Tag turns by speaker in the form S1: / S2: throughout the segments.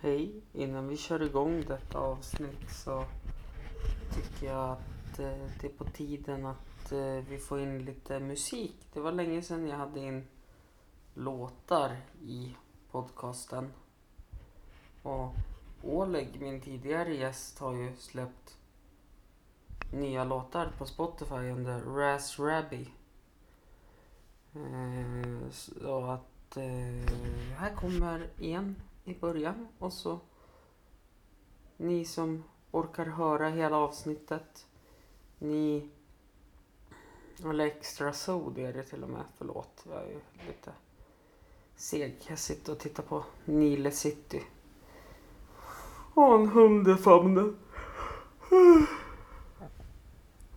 S1: Hej, innan vi kör igång detta avsnitt så tycker jag att eh, det är på tiden att eh, vi får in lite musik. Det var länge sedan jag hade in låtar i podcasten. Och Oleg, min tidigare gäst, har ju släppt nya låtar på Spotify under Raz Rabby. Eh, så att eh, här kommer en i början och så ni som orkar höra hela avsnittet, ni... Eller extra sod är det till och med, förlåt. Jag är ju lite seg. Jag sitter och tittar på Nile City. Och en hund i famnen.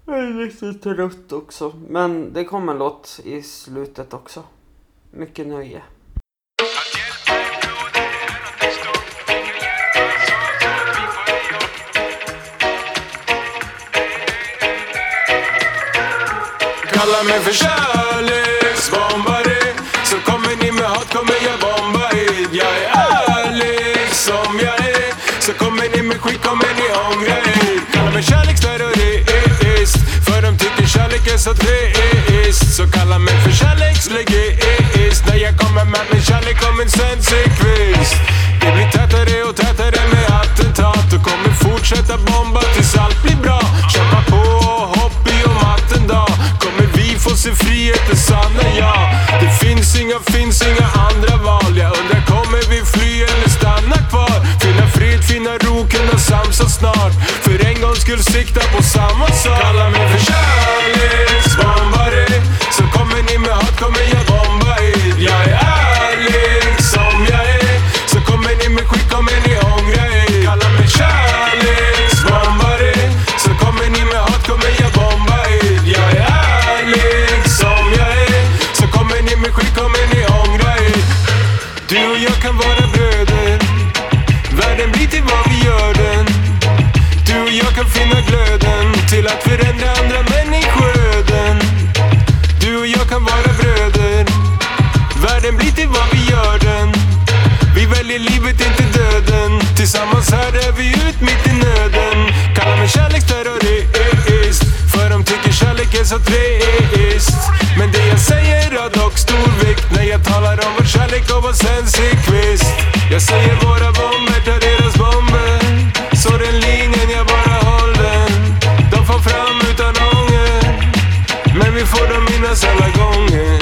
S1: Jag är riktigt trött också. Men det kommer en låt i slutet också. Mycket nöje.
S2: Kallar mig för kärleksbombare Så kommer ni med hat kommer jag bomba hit Jag är ärlig som jag är Så kommer ni med skit kommer ni ångra er Kallar mig kärleksterrorist För de tycker kärlek är så teist Så kallar mig för kärlekslegist När jag kommer med min kärlek och min sensekvist Det blir tätare och tätare med attentat Och kommer fortsätta bomba tills allt blir bra Kämpa på och hopp i och matt en dag Kommer vi få se friheten sanna ja Det finns inga, finns inga andra val Jag undrar kommer vi fly eller stanna kvar? Finna fred, finna ro, kunna samsas snart För en gångs skull sikta på samma sak Kalla mig för kärleksbombare Så kommer ni med hat kommer jag bomba er Jag är ärlig som jag är Så kommer ni med skit kommer ni ångra er Kalla mig kärleksbombare Så kommer ni med hat kommer jag bomba er Jag är ärlig som jag är Så kommer ni med skit kommer ni ångra er Du och jag kan vara bröder Världen blir till vad vi gör den Du och jag kan finna glöden Till att förändra andra människoöden Du och jag kan vara bröder Världen blir till vad vi gör den Vi väljer livet, inte döden Tillsammans här är vi ut mitt i nöden Kallar mig kärleksterrorist För de tycker kärlek är så teist Men det jag säger har dock stor vikt När jag talar om vår kärlek och vår sensikvist Jag säger våra bomber tar deras bomber Så den linjen jag bara håller De får fram utan ånger men vi får dem minnas alla gånger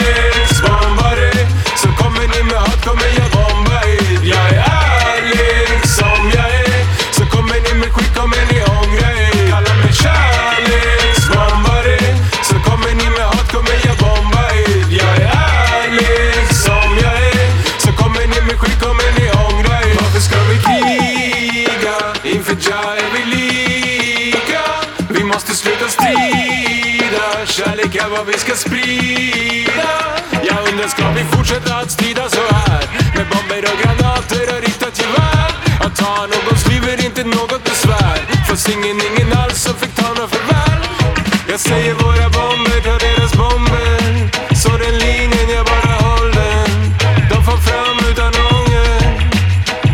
S2: Kärleksbombare Så kommer ni med hat kommer jag bomba er Jag är ärlig som jag är Så kommer ni med skit kommer ni ångra er Kalla mig kärleksbombare Så kommer ni med hat kommer jag bomba er Jag är ärlig som jag är Så kommer ni med skit kommer ni ångra er Varför ska vi kriga? Inför jag är vi lika Vi måste sluta strida Kärlek är vad vi ska sprida Jag undrar ska vi fortsätta att strida så här Med bomber och granater och riktat gevär Att ta någons liv är inte något besvär Fast ingen, ingen alls som fick ta några förvärv Jag säger våra bomber tar deras bomber Så den linjen jag bara håller De får fram utan ånger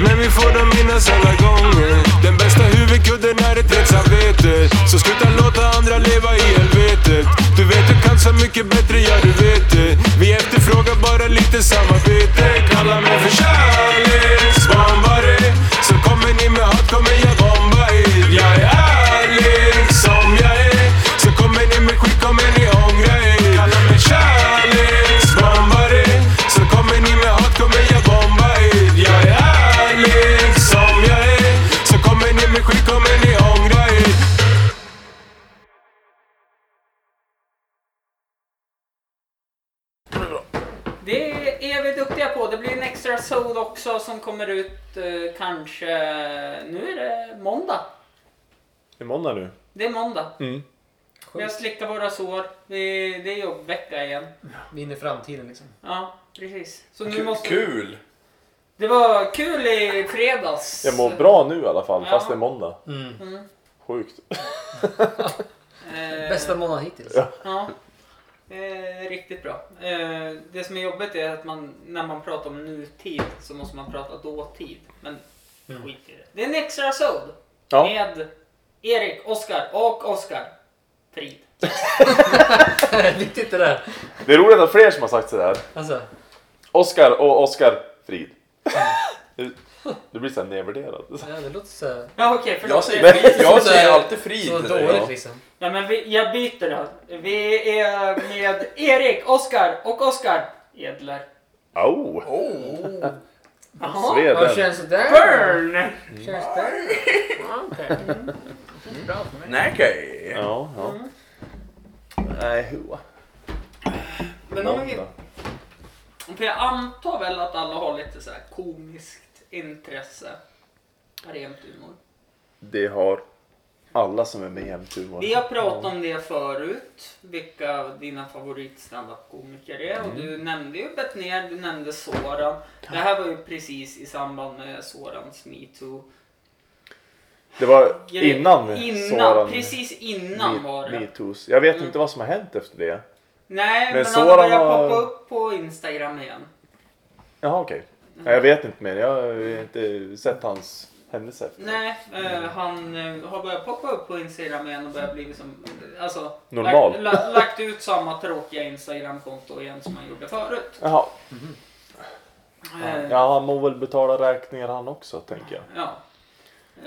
S2: men vi får dem minnas alla gånger Den bästa huvudkudden är ett rent samvete Så sluta låta andra leva i helvetet Du vet du kan så mycket bättre, ja du vet det Vi efterfrågar bara lite samarbete Kalla mig för kärleksbombare Så kommer ni med hat kommer jag bomba er Jag är ärlig som jag är Så kommer ni med skit kommer ni ångra er Kalla mig kärleksbombare Så kommer ni med hat kommer jag bomba er Jag är ärlig som jag är Så kommer ni med skit kommer ni ångra er
S1: Det är vi duktiga på. Det blir en extra sod också som kommer ut eh, kanske... Nu är det måndag.
S3: Det är måndag nu.
S1: Det är måndag.
S3: Mm.
S1: Vi har slickat våra sår. Det, det är jobbvecka igen.
S4: Vi är inne i framtiden liksom.
S1: Ja, precis. Så nu måste...
S5: Kul!
S1: Det var kul i fredags.
S3: Jag mår bra nu i alla fall, fast det är måndag.
S4: Mm.
S3: Sjukt.
S1: Eh,
S4: Bästa månaden hittills.
S1: Ja. Eh, riktigt bra. Eh, det som är jobbigt är att man, när man pratar om nutid så måste man prata dåtid. Men skit i det. Det är en extra sod
S3: Ja.
S1: med Erik, Oskar och Oskar Frid.
S4: Viktigt det där.
S3: Det är roligt att fler som har sagt sådär.
S4: Alltså,
S3: Oskar och Oskar Frid. Du- Du blir såhär nedvärderad.
S4: ja, det låter så här...
S1: Ja okej, förlåt.
S5: Jag
S1: Det-
S5: säger, frid, jag säger alltid frid
S4: Så
S5: till dig.
S4: dåligt
S5: ja.
S4: liksom.
S1: Nej, men vi, jag byter då. Vi är med Erik, Oskar och Oskar Edler.
S3: Au!
S5: Oh.
S1: Jaha.
S3: Sved
S4: Vad
S3: den.
S4: känns det där?
S1: Burn!
S4: Känns det där? Ja, okej. Mm. Bra för mig.
S5: Nej, okej.
S3: Ja, ja.
S1: Mm.
S5: Nej, hua.
S1: Men om vi, för jag antar väl att alla har lite så här komiskt intresse. Rent humor.
S3: Det har alla som är med i Jämthumor.
S1: Vi har pratat om det förut, vilka dina favorit komiker är. Och
S3: Mm.
S1: du nämnde ju Betnér, du nämnde Soran. Det här var ju precis i samband med Sorans metoo.
S3: Det var innan
S1: Innan,
S3: Soran
S1: precis innan
S3: Me-
S1: var det.
S3: Metoos. Jag vet inte vad som har hänt efter det.
S1: Nej, men, han
S3: Soran
S1: började
S3: har-
S1: poppa upp på Instagram igen.
S3: Jaha okej.
S1: Mm.
S3: Nej, jag vet inte mer. Jag har inte sett hans händelse efter.
S1: Nej, eh,
S3: Mm.
S1: han eh, har börjat poppa upp på Instagram igen och börjat bli som, alltså,
S3: Normal.
S1: Lagt, la, lagt ut samma tråkiga Instagram-konto igen som han gjorde förut.
S3: Jaha.
S1: Eh,
S3: Ja, han må väl betala räkningar han också, tänker jag.
S1: Ja,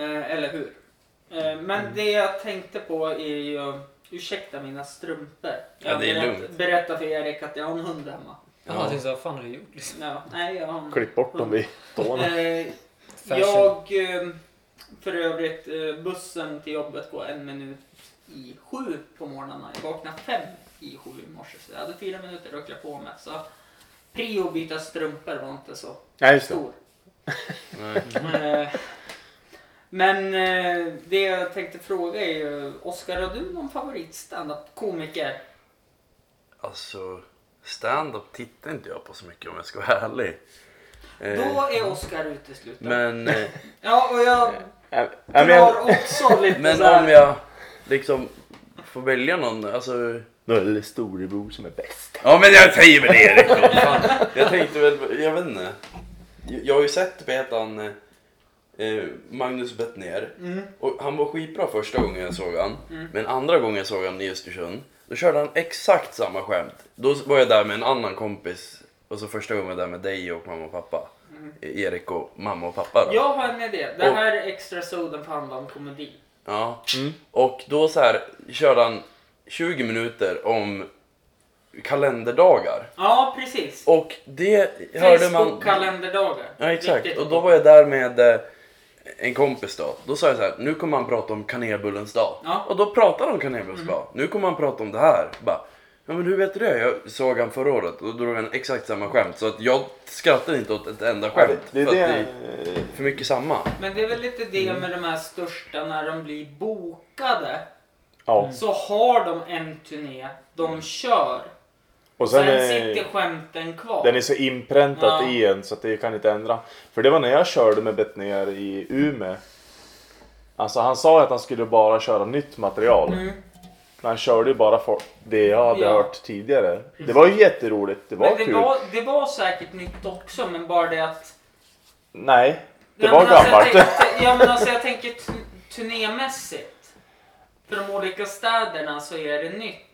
S1: eh, eller hur? Eh, men
S5: Mm.
S1: det jag tänkte på är ju, ursäkta mina strumpor.
S5: Ja,
S1: Jag
S5: det är
S1: berätt-
S5: lugnt.
S1: berättar för Erik att jag har en hund hemma.
S4: Jaha, jag tänkte så, vad fan har du gjort liksom?
S1: Ja, nej, jag har en
S3: Klipp bort dem
S1: Mm.
S3: i tårna.
S1: Eh,
S4: Fashion.
S1: jag, eh, för övrigt, eh, bussen till jobbet går en minut i sju på morgnarna. Jag vaknade fem i sju i morse, så jag hade fyra minuter att klä på mig. Så prio att byta strumpor var inte så
S3: Nej, just det.
S1: stor. Eh, Men eh, det jag tänkte fråga är ju, Oskar har du någon favorit standup komiker?
S5: Alltså, stand-up tittar inte jag på så mycket om jag ska vara ärlig. Eh,
S1: Då är Oskar utesluten.
S5: Men, eh,
S1: Ja, och jag
S3: Nej, men jag...
S1: drar också lite
S5: men
S1: så här-
S5: om jag liksom får välja någon, alltså.
S3: Då är det storebror som är bäst.
S5: Ja men jag säger väl Erik då. fan. Jag tänkte väl, jag vet inte. Jag- Jag har ju sett, vad heter han, eh, eh, Magnus Bettner. Och han var skitbra första gången jag såg han. Men andra gången jag såg han i Östersund, då körde han exakt samma skämt. Då var jag där med en annan kompis. Och så första gången var jag där med dig och mamma och pappa. E-, Erik och mamma och pappa då.
S1: Jag har en idé. Det
S5: Och-
S1: här extra soden får handla om komedi.
S5: Ja.
S1: Mm.
S5: Och då så här körde han 20 minuter om kalenderdagar.
S1: Ja, precis.
S5: Och det hörde man...
S1: Facebook-kalenderdagar.
S5: Ja exakt,
S1: Viktigt.
S5: och då var jag där med eh, en kompis då. Då sa jag så här, nu kommer han prata om kanelbullens dag.
S1: Ja. Mm.
S5: Och då pratade de om kanelbullens dag. Nu kommer han prata om det här. Bara, ja men hur vet du det? Jag såg han förra året och då drog han exakt samma skämt. Så att jag skrattade inte åt ett enda skämt.
S3: Det är
S5: för att
S3: det...
S5: det är för mycket samma.
S1: Men det är väl lite det
S3: Mm.
S1: med de här största när de blir bokade.
S3: Ja.
S1: Så har de en turné, de kör.
S3: Och Mm. sen
S1: Sen
S3: är...
S1: sitter skämten kvar.
S3: Den är så inpräntat
S1: Ja.
S3: i en så att det kan inte ändra. För det var när jag körde med Bettner i Umeå. Alltså han sa att han skulle bara köra nytt material. Men han körde ju bara for- det jag hade
S1: Mm. Ja.
S3: hört tidigare. Det var ju jätteroligt, det var
S1: men det,
S3: kul.
S1: var, det var säkert nytt också, men bara det att...
S3: Nej, det
S1: Ja,
S3: var
S1: men alltså,
S3: gammalt.
S1: Jag, tänkte- ja, men alltså, jag tänker tu- turnémässigt. För de olika städerna så är det nytt.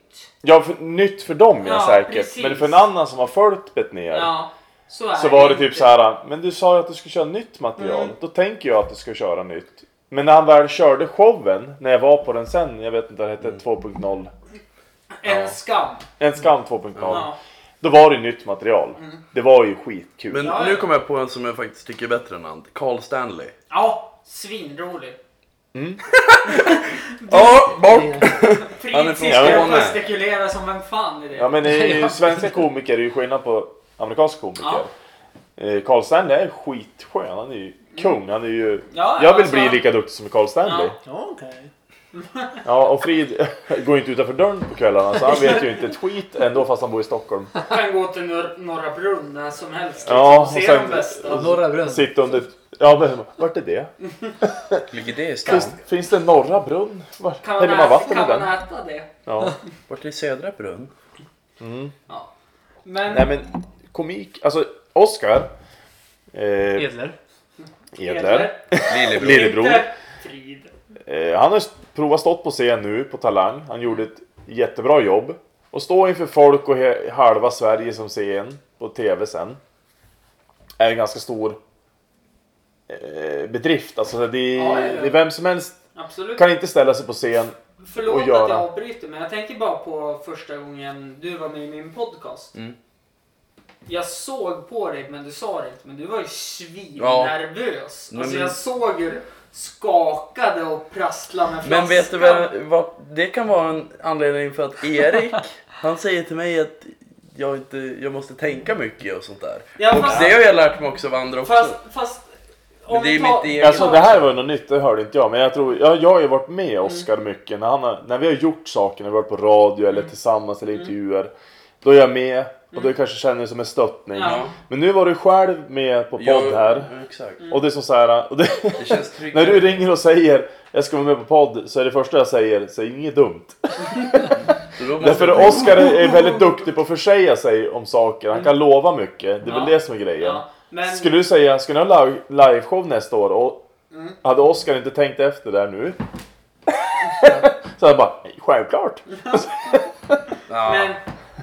S3: ja, för, nytt för dem ja,
S1: Ja,
S3: säkert.
S1: precis.
S3: Men för en annan som har följt Bettner.
S1: Ja, så är
S3: Så var det
S1: inte.
S3: typ så här. men du sa ju att du skulle köra nytt material.
S1: Mm.
S3: Då tänker jag att du ska köra nytt. Men när han väl körde showen, när jag var på den sen, jag vet inte vad det
S1: Mm.
S3: hette, 2.0.
S1: En skam.
S3: En skam 2.0.
S1: Ja. Mm.
S3: Då var det ju nytt material. Det var ju skitkul.
S5: Men
S1: Ja, ja.
S5: nu kom jag på en som jag faktiskt tycker är bättre än han. Carl Stanley.
S1: Ja, svinrolig.
S5: Ja, bort! Han är
S1: Fritz
S5: från
S1: sitter och
S5: Skåne.
S1: gestikulera som en fan i det.
S3: Ja men det är ju, svenska komiker är ju skillnad på amerikanska komiker. Eh, Carl Stanley är skitskön. Han är ju kung. Han är ju...
S1: Mm. Ja,
S3: jag vill
S1: alltså-
S3: bli lika duktig som Carl Stanley.
S4: Okej.
S3: Ja, och Frid går ju inte utanför dörren på kvällarna så han vet ju inte ett skit ändå fast han bor i Stockholm.
S1: kan gå till nor- Norra Brunn när som helst.
S3: Ja,
S1: liksom. Se
S3: och sen-
S1: de bästa.
S4: Norra Brunn.
S3: Sitta under... Ja men vart är det?
S5: Ligger det i stan?
S3: Finns, finns det en norra brunn? Var,
S1: Kan man,
S3: häller man
S1: äta,
S3: vatten i
S1: kan man
S3: den?
S1: äta det?
S3: Ja.
S5: Vart är Södra Brunn?
S1: Ja. Men,
S3: Nej men komik, alltså Oscar. Eh,
S6: Edler.
S3: Edler.
S5: Lillebror.
S3: Lillebror.
S1: Inte Frid.
S3: Eh, han har s- provat stått på scen nu på Talang. Han gjorde ett jättebra jobb. Och stå inför folk och he- halva Sverige som ser en på TV sen. Är en ganska stor eh, bedrift. Alltså det är,
S1: Ja, ja, ja.
S3: det är vem som helst
S1: Absolut.
S3: kan inte ställa sig på scen.
S1: Förlåt
S3: och
S1: att jag
S3: göra.
S1: avbryter men jag tänker bara på första gången du var med i min podcast.
S5: Mm.
S1: Jag såg på dig men du sa det inte men du var ju svinnervös.
S5: Men-
S1: Alltså jag såg hur du skakade och prasslade med flaskan.
S5: Men vet du vad, vad, det kan vara en anledning för att Erik, han säger till mig att jag, inte, jag måste tänka mycket och sånt där.
S1: Ja,
S5: och
S1: fast-
S5: det har jag lärt mig också av andra också.
S1: Fast, fast om
S5: Men det är
S1: vi tar-
S5: mitt eget-
S3: Alltså det här var något nytt, det hörde inte jag. Men jag tror, jag, jag har ju varit
S1: Mm.
S3: med Oscar mycket. När, han har, när vi har gjort saker, när vi har varit på radio
S1: Mm.
S3: eller tillsammans eller intervjuer. Då är jag med och då kanske känner jag som en stöttning.
S1: Ja.
S3: Men nu var du själv med på
S5: Jag-
S3: podd här.
S5: Exakt.
S1: Mm.
S3: Och det är som så här, och det,
S5: Det känns tryggare.
S3: när du ringer och säger jag ska vara med på podd så är det första jag säger, säg inget dumt.
S5: Så då måste
S3: Därför
S5: jag
S3: att Oscar är väldigt duktig på att försäga sig om saker, han kan lova mycket. Det är väl
S1: Mm. Ja.
S3: det som är grejen.
S1: Ja, men
S3: Skulle du säga, ska ni ha live- liveshow nästa år? Och
S1: Mm.
S3: hade Oscar inte tänkt efter där nu? så jag bara, "Nej, självklart!
S1: Mm.
S5: Ja,
S1: Men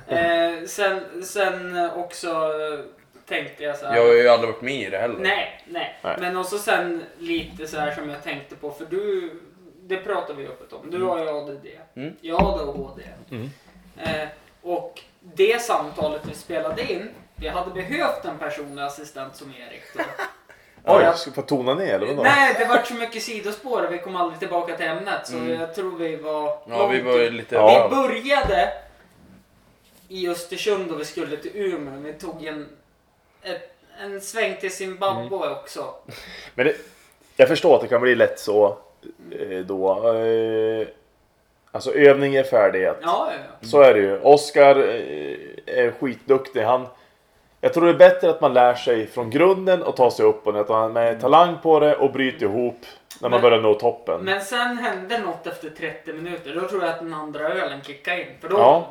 S1: eh, sen, sen också eh, tänkte jag så här.
S5: Jag har ju aldrig varit med i det heller.
S1: Nej, nej,
S3: Nej.
S1: Men också sen lite så här som jag tänkte på för du, det pratar vi öppet om. Du har ju ADD.
S5: Mm.
S1: Jag har ADHD. Eh, och det samtalet vi spelade in, vi hade behövt en personlig assistent som Erik då.
S3: Oj,
S1: Ja.
S3: ska jag få tona ner eller vadå?
S1: Nej, det var så mycket sidospår och vi kom aldrig tillbaka till ämnet så jag tror vi var...
S5: Mm. Ja, vi var ju lite...
S3: Ja.
S1: Vi började i Östersund och vi skulle till Umeå. Vi tog en, ett, en sväng till Zimbabwe
S5: Mm.
S1: också.
S3: Men det, jag förstår att det kan bli lätt så eh, då. Eh, Alltså övning är färdighet.
S1: Ja, ja, ja.
S3: Så är det ju. Oscar eh, är skitduktig. Han, jag tror det är bättre att man lär sig från grunden och tar sig upp och ner. Att man är talang på det och bryter ihop när man
S1: Men-
S3: börjar nå toppen.
S1: Men sen hände något efter 30 minuter. Då tror jag att den andra ölen kickade in. För då,
S3: Ja.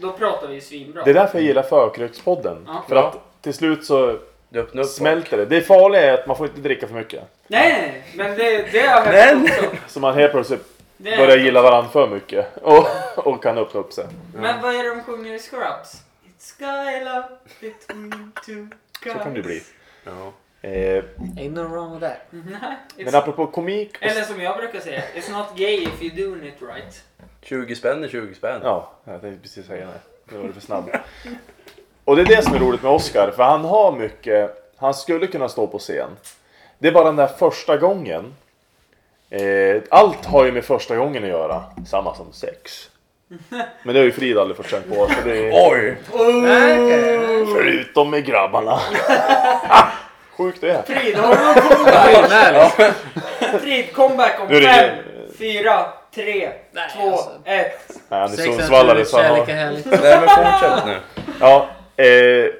S1: då pratar vi ju svinbra.
S3: Det är därför jag gillar förkrökspodden.
S1: Ja.
S3: För att till slut så
S5: Du öppnade upp
S3: smälter det. Det farliga är att man får inte dricka för mycket.
S1: Nej, nej, nej, men det, det har
S5: Nej,
S1: hänt också.
S3: Så man helt plötsligt
S1: Det har
S3: börjar
S1: hänt.
S3: gilla varandra för mycket. Och, och kan öppna upp sig.
S1: Men vad är det de sjunger i Scrubs? It's sky love between two guys.
S3: Så kan det bli.
S5: Ja.
S3: Eh,
S6: Ain't no wrong with that.
S1: Nej,
S3: men
S1: it's,
S3: apropå komik. Och,
S1: eller som jag brukar säga, it's not gay if you're doing it right.
S5: 20 spänn är 20 spänn.
S3: ja, jag tänkte precis säga det. Nu var du för snabb. Och det är det som är roligt med Oscar. För han har mycket. Han skulle kunna stå på scen. Det är bara den där första gången. Eh, allt har ju med första gången att göra. Samma som sex. Men det har ju Frid aldrig fått känna på. Så det är...
S5: Oj!
S3: Förutom med grabbarna. Sjukt det är.
S1: Frid, har du någon comeback?
S6: Nej,
S1: Frid, comeback om
S3: Nu ringer-
S1: 5, 4, 3,
S6: Nej,
S1: 2,
S6: alltså.
S1: 1.
S3: Nej, han är
S6: Sex
S3: sundsvallare
S6: naturligt,
S3: så han
S6: kärlek är
S3: har...
S6: härligt.
S5: Nej men fortsätt nu.
S3: Ja, eh,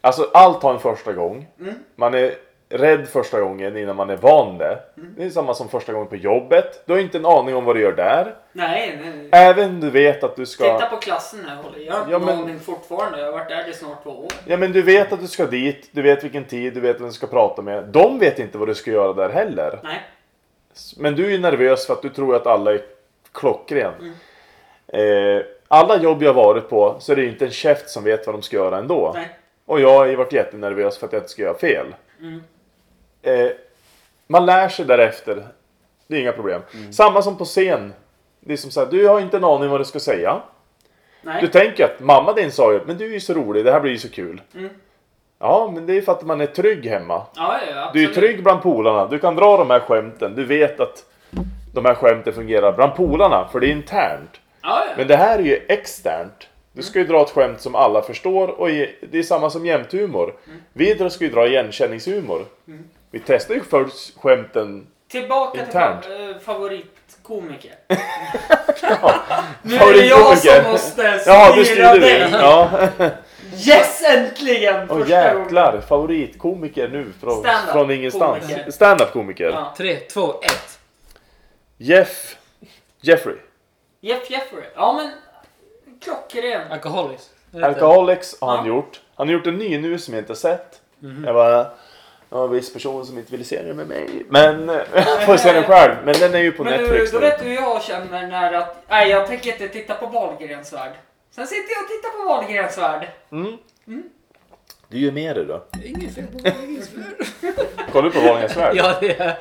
S3: alltså allt har en första gång.
S6: Mm.
S3: Man är rädd första gången innan man är van det.
S6: Mm.
S3: Det är samma som första gången på jobbet. Du har inte en aning om vad du gör där.
S1: Nej, nej, nej.
S3: Även du vet att du
S1: Titta
S3: ska...
S1: på klassen här Holly. Jag har inte
S3: Ja,
S1: någon
S3: men-
S1: aning fortfarande. Jag har varit där i snart två år.
S3: Ja men du vet att du ska dit, du vet vilken tid, du vet vem du ska prata med. De vet inte vad du ska göra där heller.
S1: Nej.
S3: Men du är ju nervös för att du tror att alla är klockren.
S1: Mm.
S3: Eh, alla jobb jag varit på så är det ju inte en käft som vet vad de ska göra ändå.
S1: Nej.
S3: Och jag har ju varit jättenervös för att jag inte ska göra fel.
S1: Mm.
S3: Eh, man lär sig därefter. Det är inga problem.
S1: Mm.
S3: Samma som på scen. Det är som så här, du har inte en aning vad du ska säga.
S1: Nej.
S3: Du tänker att mamma din sa ju, men du är ju så rolig, det här blir ju så kul.
S1: Mm.
S3: Ja, men det är ju för att man är trygg hemma.
S1: Ja, ja, ja, absolut.
S3: Du är trygg bland polarna. Du kan dra de här skämten. Du vet att de här skämten fungerar bland polarna, för det är internt.
S1: Ja, ja.
S3: Men det här är ju externt. Du ska ju dra ett skämt som alla förstår och ge- det är samma som jämthumor. Vi drar- ska ju dra igenkänningshumor. Vi testar ju först skämten.
S1: Tillbaka
S3: Internt.
S1: till fa- eh, favoritkomiker. Nu är det jag
S3: Favoritkomiker.
S1: som måste
S3: Ja, du
S1: styra
S3: styrde
S1: dig.
S3: det. Ja.
S1: Yes, äntligen!
S3: Och
S1: Första gången.
S3: jäklar, favoritkomiker nu från,
S1: Stand-up
S3: från ingenstans.
S1: komiker.
S3: Standup-komiker.
S1: Ja.
S6: 3, 2, 1.
S3: Jeff... Jeffrey.
S1: Jeff Jeffrey. Ja, men klockren.
S6: Alkoholis.
S3: Alcoholics har han gjort. Han har gjort en ny nu som jag inte har sett. Jag bara... Det var en viss person som inte ville se den med mig. Men... Jag får se den själv. Men den är ju på
S1: Men du,
S3: Netflix
S1: då
S3: nu.
S1: vet du hur jag känner när att, nej jag tänker inte titta på Wahlgrens värld. Sen sitter jag och tittar på Wahlgrens värld.
S3: Du gör med dig då.
S6: Inget fel på det.
S3: Kollar du på Wahlgrens värld?
S6: Ja, det är...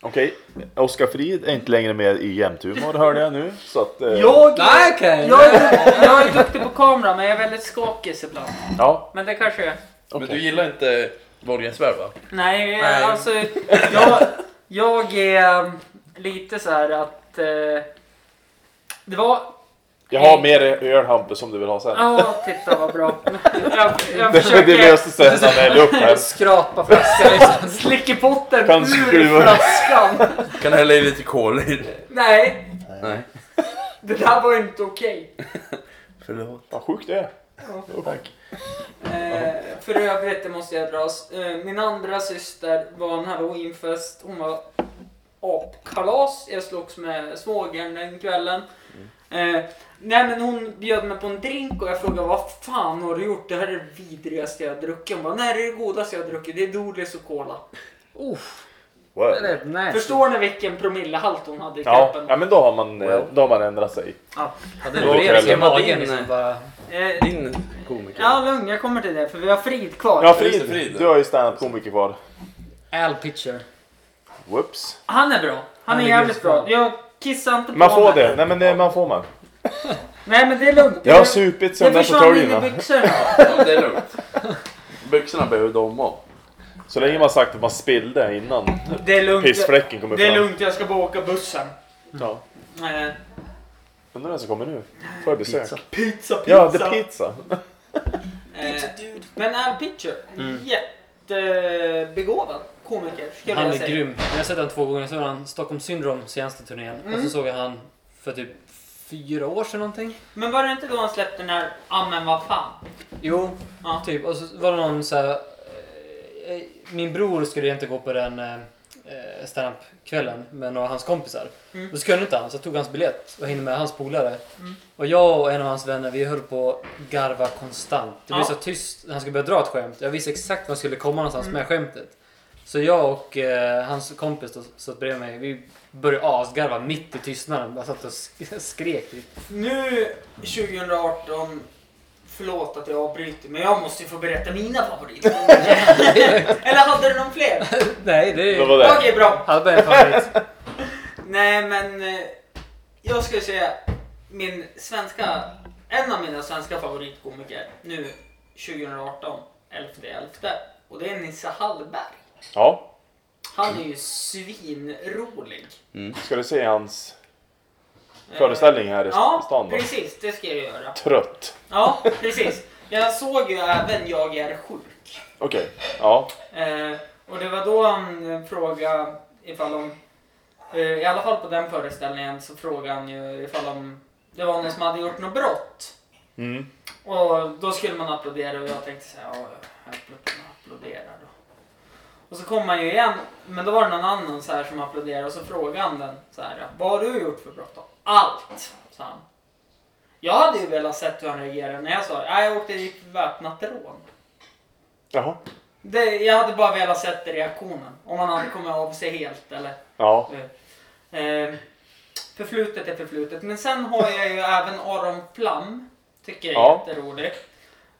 S3: Okej. Oskar Frid är inte längre med i Jämthumor hörde jag nu. Så att... eh,
S1: Jag,
S6: Nej, okej.
S1: jag, är, jag är duktig på kamera men jag är väldigt skakig ibland.
S3: Ja.
S1: Men det kanske jag är.
S5: Men du gillar inte Wahlgrens värld va?
S1: Nej,
S6: Nej.
S1: alltså jag, jag är eh, lite så här att eh, det var
S3: Jag har med dig öl Hampus som du vill ha sen.
S1: Ja, titta vad bra. Jag, jag
S3: Det, det
S1: försöker
S3: löste sig när han hällde upp här.
S6: Skrapa flaskan liksom.
S1: slickepotten
S3: Kan
S1: ur
S3: skruva.
S1: flaskan.
S5: Kan hälla i lite kol i det.
S1: Nej,
S5: Nej.
S1: det där var inte okej.
S5: Förlåt.
S3: Vad sjukt det är.
S5: Tack.
S1: Eh, för övrigt, det måste jag dra. oss. Eh, min andra syster var en halloweenfest. Hon var apkalas. Jag slogs med svågern den kvällen. Eh, nej men hon bjöd mig på en drink och jag frågade vad fan har du gjort? Det här är det vidrigaste jag har druckit. Hon bara, nej det är det godaste jag har druckit. Det är Doodles och Cola.
S6: Uff,
S3: Wow.
S6: det är nice.
S1: Förstår ni vilken promillehalt hon hade i
S3: Ja.
S1: kroppen?
S3: ja, men då har man, eh, då har man ändrat sig.
S1: Ja.
S6: Hade
S3: Då
S6: du
S3: kräver
S6: i
S3: jag-
S6: magen liksom bara...
S1: Eh,
S5: Din komiker.
S1: ja, lugn, jag kommer till det för vi har Frid kvar.
S3: Ja,
S5: Just det,
S3: Frid.
S5: Frid.
S3: Du har ju stand-up komiker kvar.
S6: Al Pitcher.
S3: Whoops.
S1: Han är bra. Han, är
S6: är
S1: jävligt
S6: just
S1: bra.
S6: bra.
S1: Jag kissar inte på
S3: Man får
S1: honom.
S3: det. Nej, men det, man får man.
S1: Nej, men det är lugnt.
S3: Jag har
S1: Det-
S3: supit
S1: det
S3: sen den
S1: försvann in i
S3: fåtöljerna.
S1: byxorna.
S5: Ja, det är lugnt. Byxorna behöver du om. av.
S3: Så länge man sagt att man spillde innan
S1: Mm. Det är lugnt.
S3: pissfläcken kommer
S1: Det är
S3: fram.
S1: lugnt, jag ska bara åka bussen.
S3: Ja.
S1: Eh,
S3: Undrar vem som kommer nu? Får jag besök? Pizza.
S1: pizza, pizza.
S3: Ja, the pizza.
S1: Eh, men Al Pitcher, jättebegåvad komiker skulle
S6: Han
S1: jag
S6: är
S1: säga.
S6: grym. Jag har sett honom två gånger. Så var han Stockholm Syndrom senaste turnén. Och så såg jag han för typ fyra år sedan någonting.
S1: Men var det inte då han släppte den här Ja men vad fan?
S6: Jo,
S1: Ja.
S6: typ. Och så var det någon så här, eh, Min bror skulle inte gå på den eh, standup-kvällen med några av hans kompisar.
S1: Mm.
S6: Då skulle inte han, så jag tog hans biljett och hängde med hans polare. Och jag och en av hans vänner, vi höll på att garva konstant. Det blev
S1: Ja.
S6: så tyst när han skulle börja dra ett skämt. Jag visste exakt var han skulle komma någonstans
S1: Mm.
S6: med skämtet. Så jag och eh, hans kompis då, satt bredvid mig, vi började asgarva mitt i tystnaden. Bara satt och sk- skrek. Typ.
S1: Nu 2018, förlåt att jag avbryter men jag måste ju få berätta mina favoriter. Eller hade du någon fler?
S6: Nej, det
S3: Det
S6: är...
S3: var
S1: Okej
S3: det.
S1: bra.
S6: Hade bara en favorit.
S1: Nej men eh, jag skulle säga min svenska, en av mina svenska favoritkomiker nu 2018, 11.11 och det är Nisse Hallberg.
S3: Ja.
S1: Han är ju svinrolig.
S3: Ska du se hans föreställning här i
S1: Ja,
S3: stan då?
S1: precis det ska jag göra.
S3: Trött.
S1: Ja, precis. Jag såg ju även Jag är sjuk.
S3: Okej. Ja.
S1: Eh, och det var då han eh, frågade ifall om, eh, i alla fall på den föreställningen så frågade han ju ifall om det var någon som hade gjort något brott.
S3: Mm.
S1: Och då skulle man applådera och jag tänkte så här, ja, jag applåderar då. Och så kom han ju igen, men då var det någon annan så här som applåderade och så frågade han den så här, vad har du gjort för brott då? Allt, sa han. Jag hade ju velat sett hur han reagerade när jag sa, "Ja, jag åkte dit för väpnat rån.
S3: Jaha.
S1: Det, jag hade bara velat sett reaktionen. Om han hade kommit av sig helt eller...
S3: Ja.
S1: Eh, förflutet är förflutet. Men sen har jag ju även Aron Flam. Tycker jag är
S3: Ja.
S1: jätterolig.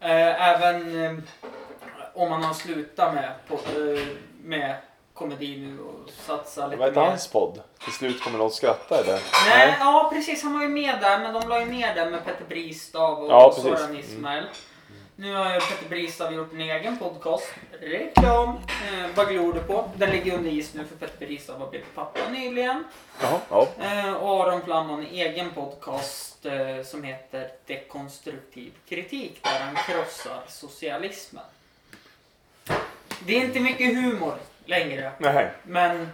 S1: Eh, även eh, om man har slutat med, på, eh, med komedi nu och satsa lite
S3: Vad heter
S1: mer.
S3: hans podd? Till slut kommer någon skratta eller?
S1: Nej, ja precis. Han var ju med där, men de la ju ner den med Petter Bristav och
S3: Ja, precis. Mm.
S1: Soran Ismail. Nu har ju Petter Bristav gjort en egen podcast. Reklam! Eh, vad glor du på? Den ligger under is nu för Petter Bristav har blivit pappa nyligen.
S3: Jaha. Ja.
S1: Eh, och Aron Flam har en egen podcast eh, som heter Dekonstruktiv kritik där han krossar socialismen. Det är inte mycket humor längre.
S3: Nej.
S1: Men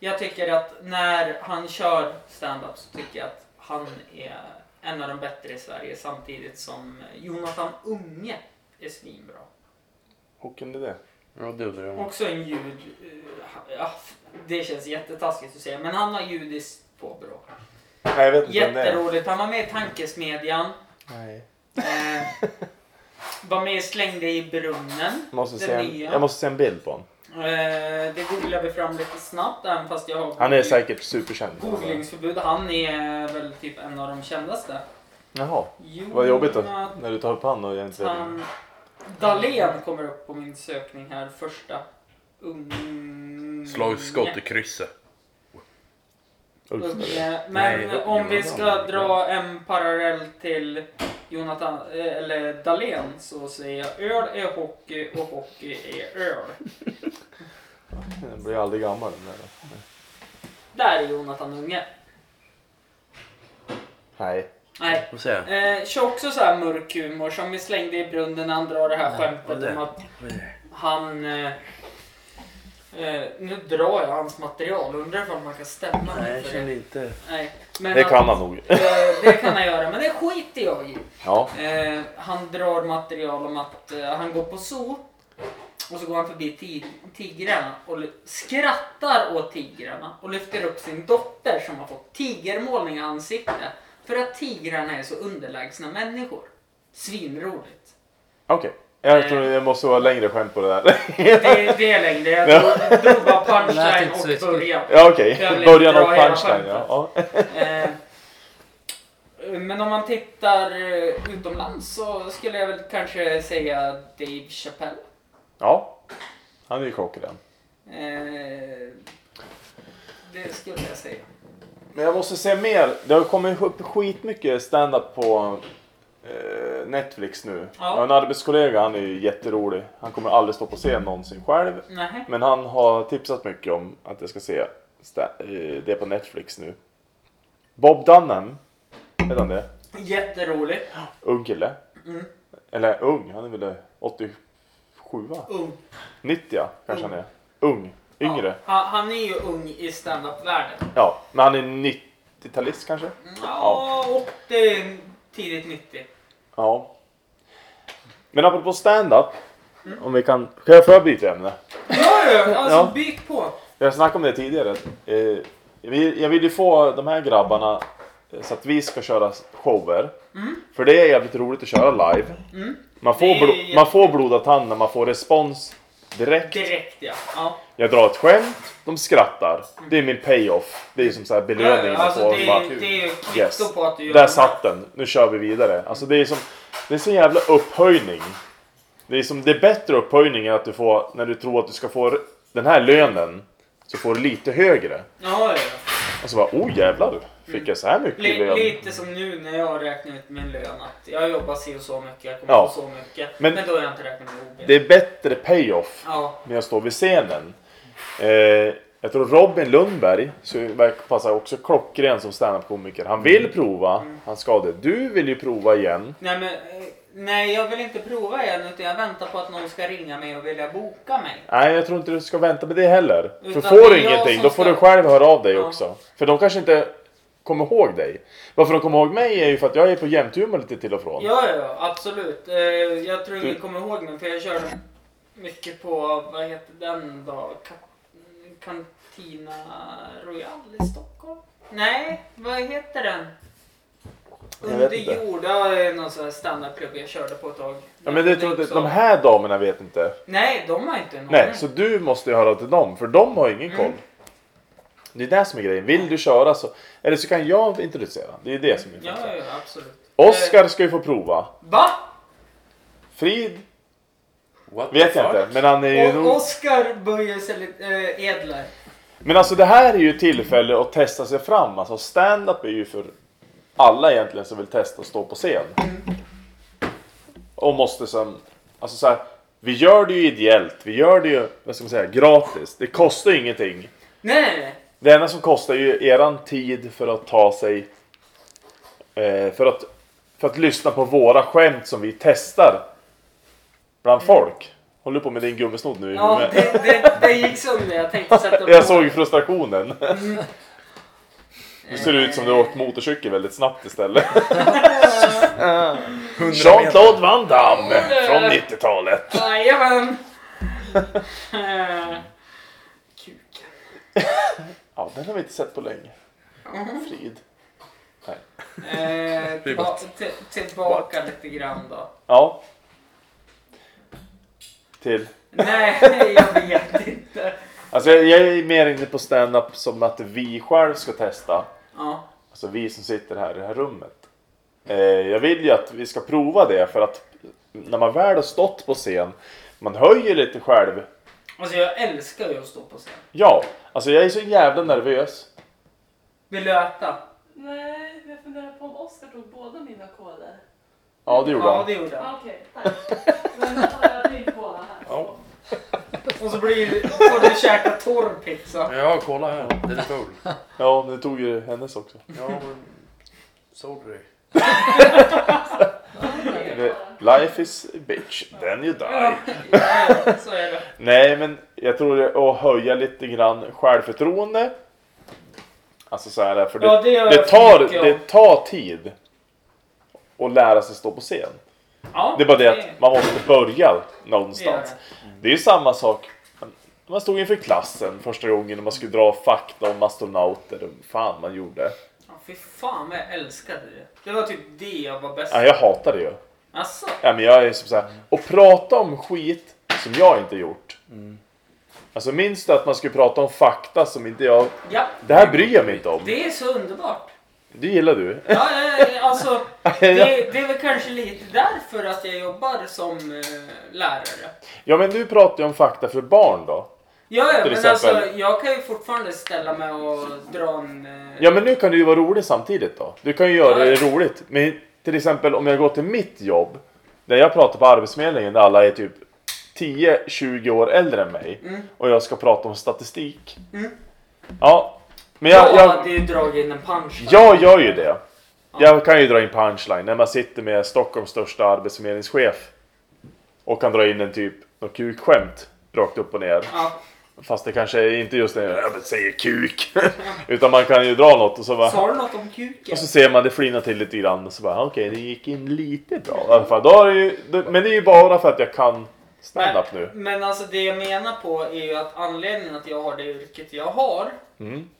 S1: jag tycker att när han kör stand-up så tycker jag att han är en av de bättre i Sverige samtidigt som Jonathan Unge är svinbra.
S3: Hur är det?
S5: Ja, det undrar jag.
S1: Också en ljud... eh, Ja, det känns jättetaskigt att säga men han har judiskt påbrå.
S3: Nej, jag vet inte vem det är.
S1: Jätteroligt. Han var med i Tankesmedjan.
S6: Nej.
S1: Eh, var med och slängde i brunnen. Den
S3: Måste se en,
S1: nya.
S3: jag måste se en bild på honom.
S1: Eh, det googlar vi fram lite snabbt även fast jag har
S3: Han är säkert superkänd.
S1: googlingsförbud. Han är väl typ en av de kändaste.
S3: Jaha,
S1: Jonas
S3: vad jobbigt att,
S1: Mm.
S3: när du tar upp han och jag inte...
S1: Han... Dahlén kommer upp på min sökning här första. Ung...
S5: Slagskott i krysset.
S3: Ulf, eller?
S1: Unge. Men
S5: Nej, det-
S1: om vi
S5: Jonathan.
S1: ska dra en parallell till Jonathan, eh, eller Dahlén så säger jag öl är hockey och hockey är öl.
S3: Den blir aldrig gammal den där.
S1: Där är Jonathan Unge.
S3: Nej.
S1: Nej.
S5: Vad säger jag?
S1: Eh, kör också så här mörk humor som vi slängde i brunnen när han drar det här
S5: vad är
S1: skämtet
S5: det?
S1: om att
S5: Vad är det?
S1: han... Eh, eh, nu drar jag hans material, undrar ifall man kan stämma
S5: Nej,
S1: honom
S5: jag
S1: för det.
S5: känner inte.
S1: Nej, men
S3: Det kan
S1: att-
S3: han nog.
S1: Eh, det kan han göra, men det skiter jag i.
S3: Ja.
S1: Eh, han drar material om att eh, han går på zoo och så går han förbi tig- tigrarna och ly- skrattar åt tigrarna och lyfter upp sin dotter som har fått tigermålning i ansiktet för att tigrarna är så underlägsna människor. Svinroligt.
S3: Okej. Jag tror jag måste vara längre skämt på det där.
S1: Mm. Det, det är längre. Jag drog- drog bara
S6: Lät
S1: punchline
S6: inte så
S1: och
S6: läskigt.
S1: början.
S3: Ja okej.
S1: Jag vill
S3: Början
S1: dra
S3: av
S1: hela
S3: punchline.
S1: skämtet.
S3: Ja. Ja.
S1: Eh, Men om man tittar eh, utomlands så skulle jag väl kanske säga Dave Chappelle.
S3: ja. Han är ju klockren.
S1: Eh, Det skulle jag säga.
S3: Men jag måste se mer. Det har kommit upp skitmycket stand-up på eh, Netflix nu.
S1: Ja.
S3: Jag har en arbetskollega, han är ju jätterolig. Han kommer aldrig stå på scen någonsin själv.
S1: Nej.
S3: Men han har tipsat mycket om att jag ska se sta- eh, det på Netflix nu. Bob Dunham, heter han det?
S1: Jätteroligt.
S3: Ung kille. Eller ung, han är väl 87 va?
S1: Ung.
S3: 90 ja, kanske han är. Ung, yngre.
S1: Ja, han, han är ju ung i standup-världen.
S3: Ja, Mm. men han är 90-talist kanske?
S1: Ja, 80, tidigt 90.
S3: Ja. Men apropå stand-up. Om vi kan... Kan jag få byta ämne?
S1: Ja, ja, alltså
S3: Ja.
S1: byt på.
S3: Vi har snackat om det tidigare. Eh, jag vill- jag vill ju få de här grabbarna eh, så att vi ska köra shower. För det är jävligt roligt att köra live. Man, får
S1: Mm. Det är
S3: blo-
S1: jätte-
S3: man får blodad tand när man får respons direkt.
S1: Direkt ja. ja.
S3: Jag drar ett skämt, de skrattar. Det är min payoff. Det är som så här belöning. man
S1: Alltså,
S3: får.
S1: det,
S3: Bara,
S1: är- det är ju kvitto
S3: Yes.
S1: på att du gör
S3: Där
S1: det.
S3: satt den. Nu kör vi vidare. Alltså det är som... Det är så jävla upphöjning. Det är som... Det är bättre upphöjning än att du får... När du tror att du ska få den här lönen. Så får du lite högre.
S1: Ja, ja, ja.
S3: Och så bara, oh jävlar. Fick jag så här mycket i
S1: Mm. Li-
S3: lön?
S1: lite som nu när jag räknar ut min lön att jag jobbar si och så mycket, jag kommer
S3: Ja.
S1: få så mycket.
S3: Men-
S1: Men, då har jag inte räknat med OB.
S3: Det är bättre payoff.
S1: Ja,
S3: när jag står vid scenen. Eh, jag tror Robin Lundberg så verkar passa också klockren som standup-komiker. Han
S1: Mm.
S3: vill prova, han ska det. Du vill ju prova igen.
S1: nej men eh, nej jag vill inte prova igen utan jag väntar på att någon ska ringa mig och vilja boka mig.
S3: Nej, jag tror inte du ska vänta med det heller.
S1: Utan
S3: För
S1: det
S3: får
S1: är
S3: du
S1: jag
S3: ingenting,
S1: som
S3: då får
S1: ska-
S3: du själv höra av dig
S1: Ja.
S3: också. För de kanske inte kommer ihåg dig. Varför de kommer ihåg mig är ju för att jag är på jämthumor lite till och från.
S1: Ja, ja, ja, absolut. Eh, jag tror ingen
S3: Du-
S1: kommer ihåg mig för jag körde mycket på, vad heter den då? Ka- Cantina Royal i Stockholm? Nej, vad heter den?
S3: Jag vet
S1: Under
S3: inte.
S1: jord, ja, eh, någon sån här standardklubb jag körde på ett tag.
S3: Ja, men det
S1: Där
S3: tror jag inte,
S1: också-
S3: de här damerna vet inte.
S1: Nej, de har inte en
S3: Nej,
S1: aning.
S3: så du måste ju höra till dem, för de har
S1: Mm.
S3: ingen koll. Det är det som är grejen. Vill du köra så... Eller så kan jag introducera. Det är det som är
S1: Ja,
S3: intressant.
S1: ja, ja, absolut. Eh,
S3: Oskar ska ju få prova.
S1: va?
S3: Frid
S5: What the
S3: vet jag
S5: fuck?
S3: inte, men han är ju
S1: Och
S3: nog...
S1: Oskar börjar sälja eh, edlar.
S3: Men alltså det här är ju ett tillfälle att testa sig fram. Alltså stand-up är ju för alla egentligen som vill testa att stå på scen. Och måste sen... Alltså så här, vi gör det ju ideellt. Vi gör det ju, vad ska man säga, gratis. Det kostar ju ingenting.
S1: Nej, nej, nej.
S3: Det enda som kostar är ju eran tid för att ta sig... Eh, för, att, för att lyssna på våra skämt som vi testar. Bland folk. Håller du på med din gummisnodd nu? i
S1: Ja,
S3: huvudet?
S1: det, det, det gick sönder. Jag tänkte sätta på
S3: Jag såg frustrationen. Nu ser det ut som du har åkt motorcykel väldigt snabbt istället. Jean-Claude Van Damme från 90-talet.
S1: Jajamän! Eh, Kuken.
S3: Ja, den har vi inte sett på länge. Frid. Nej.
S4: Eh,
S5: Det är
S4: tillba- till- tillbaka lite grann då.
S3: Ja. Till.
S4: Nej, jag vet inte.
S3: Alltså jag, jag är mer inne på stand-up som att vi själv ska testa.
S4: Ja,
S3: Alltså vi som sitter här i det här rummet. Eh, jag vill ju att vi ska prova det för att när man väl har stått på scen, man höjer lite själv.
S4: alltså jag älskar ju att stå på scen.
S3: Ja, alltså jag är så jävla nervös.
S4: Vill du äta?
S7: Nej, jag funderar på om Oskar tog båda mina koder.
S3: Ja, det gjorde
S4: Ja,
S3: han.
S4: det gjorde jag.
S7: Ah, Okej, tack. Men då har jag din kola här.
S5: Ja.
S4: Och så blir, får du käka torr pizza.
S5: ja, kolla här. Den är full.
S3: Ja, men du tog ju hennes också.
S5: Ja, men... Sorry.
S3: Eh, Life is a bitch, then you die.
S4: Ja, så är det.
S3: Nej, men jag tror det är att höja lite grann självförtroende. Alltså så här, för det,
S4: Ja, det gör
S3: det,
S4: jag för
S3: tar,
S4: mycket av.
S3: det tar tid att lära sig stå på scen.
S4: Ja,
S3: Det är bara det att man måste börja någonstans. Det är ju samma sak. när Man stod inför klassen första gången och man skulle dra fakta om astronauter. och Fan man gjorde.
S4: Ja, fy fan vad jag älskade det. Det var typ det jag var bäst
S3: Ja,
S4: på.
S3: jag hatar det ju.
S4: Alltså,
S3: Ja, men jag är som så här, och prata om skit som jag inte gjort. Alltså minns du att man skulle prata om fakta som inte jag...
S4: ja.
S3: Det här bryr jag mig inte om.
S4: Det är så underbart.
S3: Det gillar du.
S4: Ja, eh, alltså, det, det är väl kanske lite därför att jag jobbar som eh, lärare.
S3: Ja men du pratar ju om fakta för barn då.
S4: Ja, ja men
S3: Till exempel.
S4: alltså jag kan ju fortfarande ställa mig och dra en... eh,
S3: Ja men nu kan du ju vara rolig samtidigt då. Du kan ju göra det roligt. Men till exempel om jag går till mitt jobb. Där jag pratar på Arbetsförmedlingen där alla är typ 10-20 år äldre än mig. Och jag ska prata om statistik. Ja. Men
S4: Jag,
S3: jag, jag,
S4: hade ju dragit in en punch. där.
S3: jag gör ju det. Jag kan ju dra in punchline när man sitter med Stockholms största arbetsförmedlingschef. Och kan dra in en typ något kukskämt rakt upp och ner.
S4: Ja,
S3: Fast det kanske är inte just det jag säger kuk. Utan man kan ju dra något och så bara...
S4: sa du något om kuken?
S3: Och så ser man det flina till lite grann och så bara okej, det gick in lite bra i alla fall. Då är det ju, då, men det är ju bara för att jag kan stand-up nu.
S4: Men alltså det jag menar på är ju att anledningen att jag har det yrket jag har.
S3: Mm.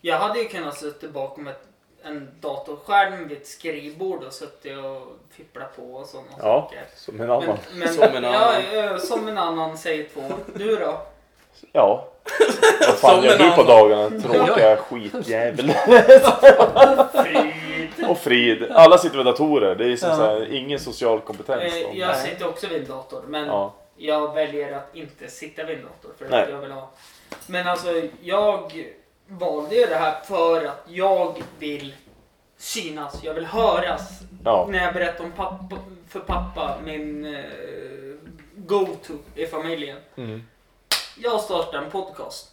S4: Jag hade ju kunnat sitta bakom ett, en datorskärm vid ett skrivbord och suttit och fipplat på och sådana
S3: Ja,
S4: saker.
S3: som en annan.
S4: Men, men,
S5: Som en
S4: Ja,
S5: annan.
S4: eh, som en annan säger två. Du då?
S3: Ja. Vad fan
S5: Som
S3: gör
S5: en
S3: du på
S5: annan.
S3: dagarna? Tråkiga skitjävel. och Frid. Alla sitter vid datorer. Det är som
S1: Ja.
S3: så här, ingen social kompetens.
S4: Eh,
S3: då.
S4: Jag
S1: Nej.
S4: sitter också vid en dator men
S3: Ja.
S4: jag väljer att inte sitta vid en dator för att
S3: Nej.
S4: jag vill ha. Men alltså jag valde ju det här för att jag vill synas, jag vill höras.
S3: Ja.
S4: När jag berättar om pappa, för pappa, min eh, go-to i familjen.
S3: Mm.
S4: Jag startar en podcast.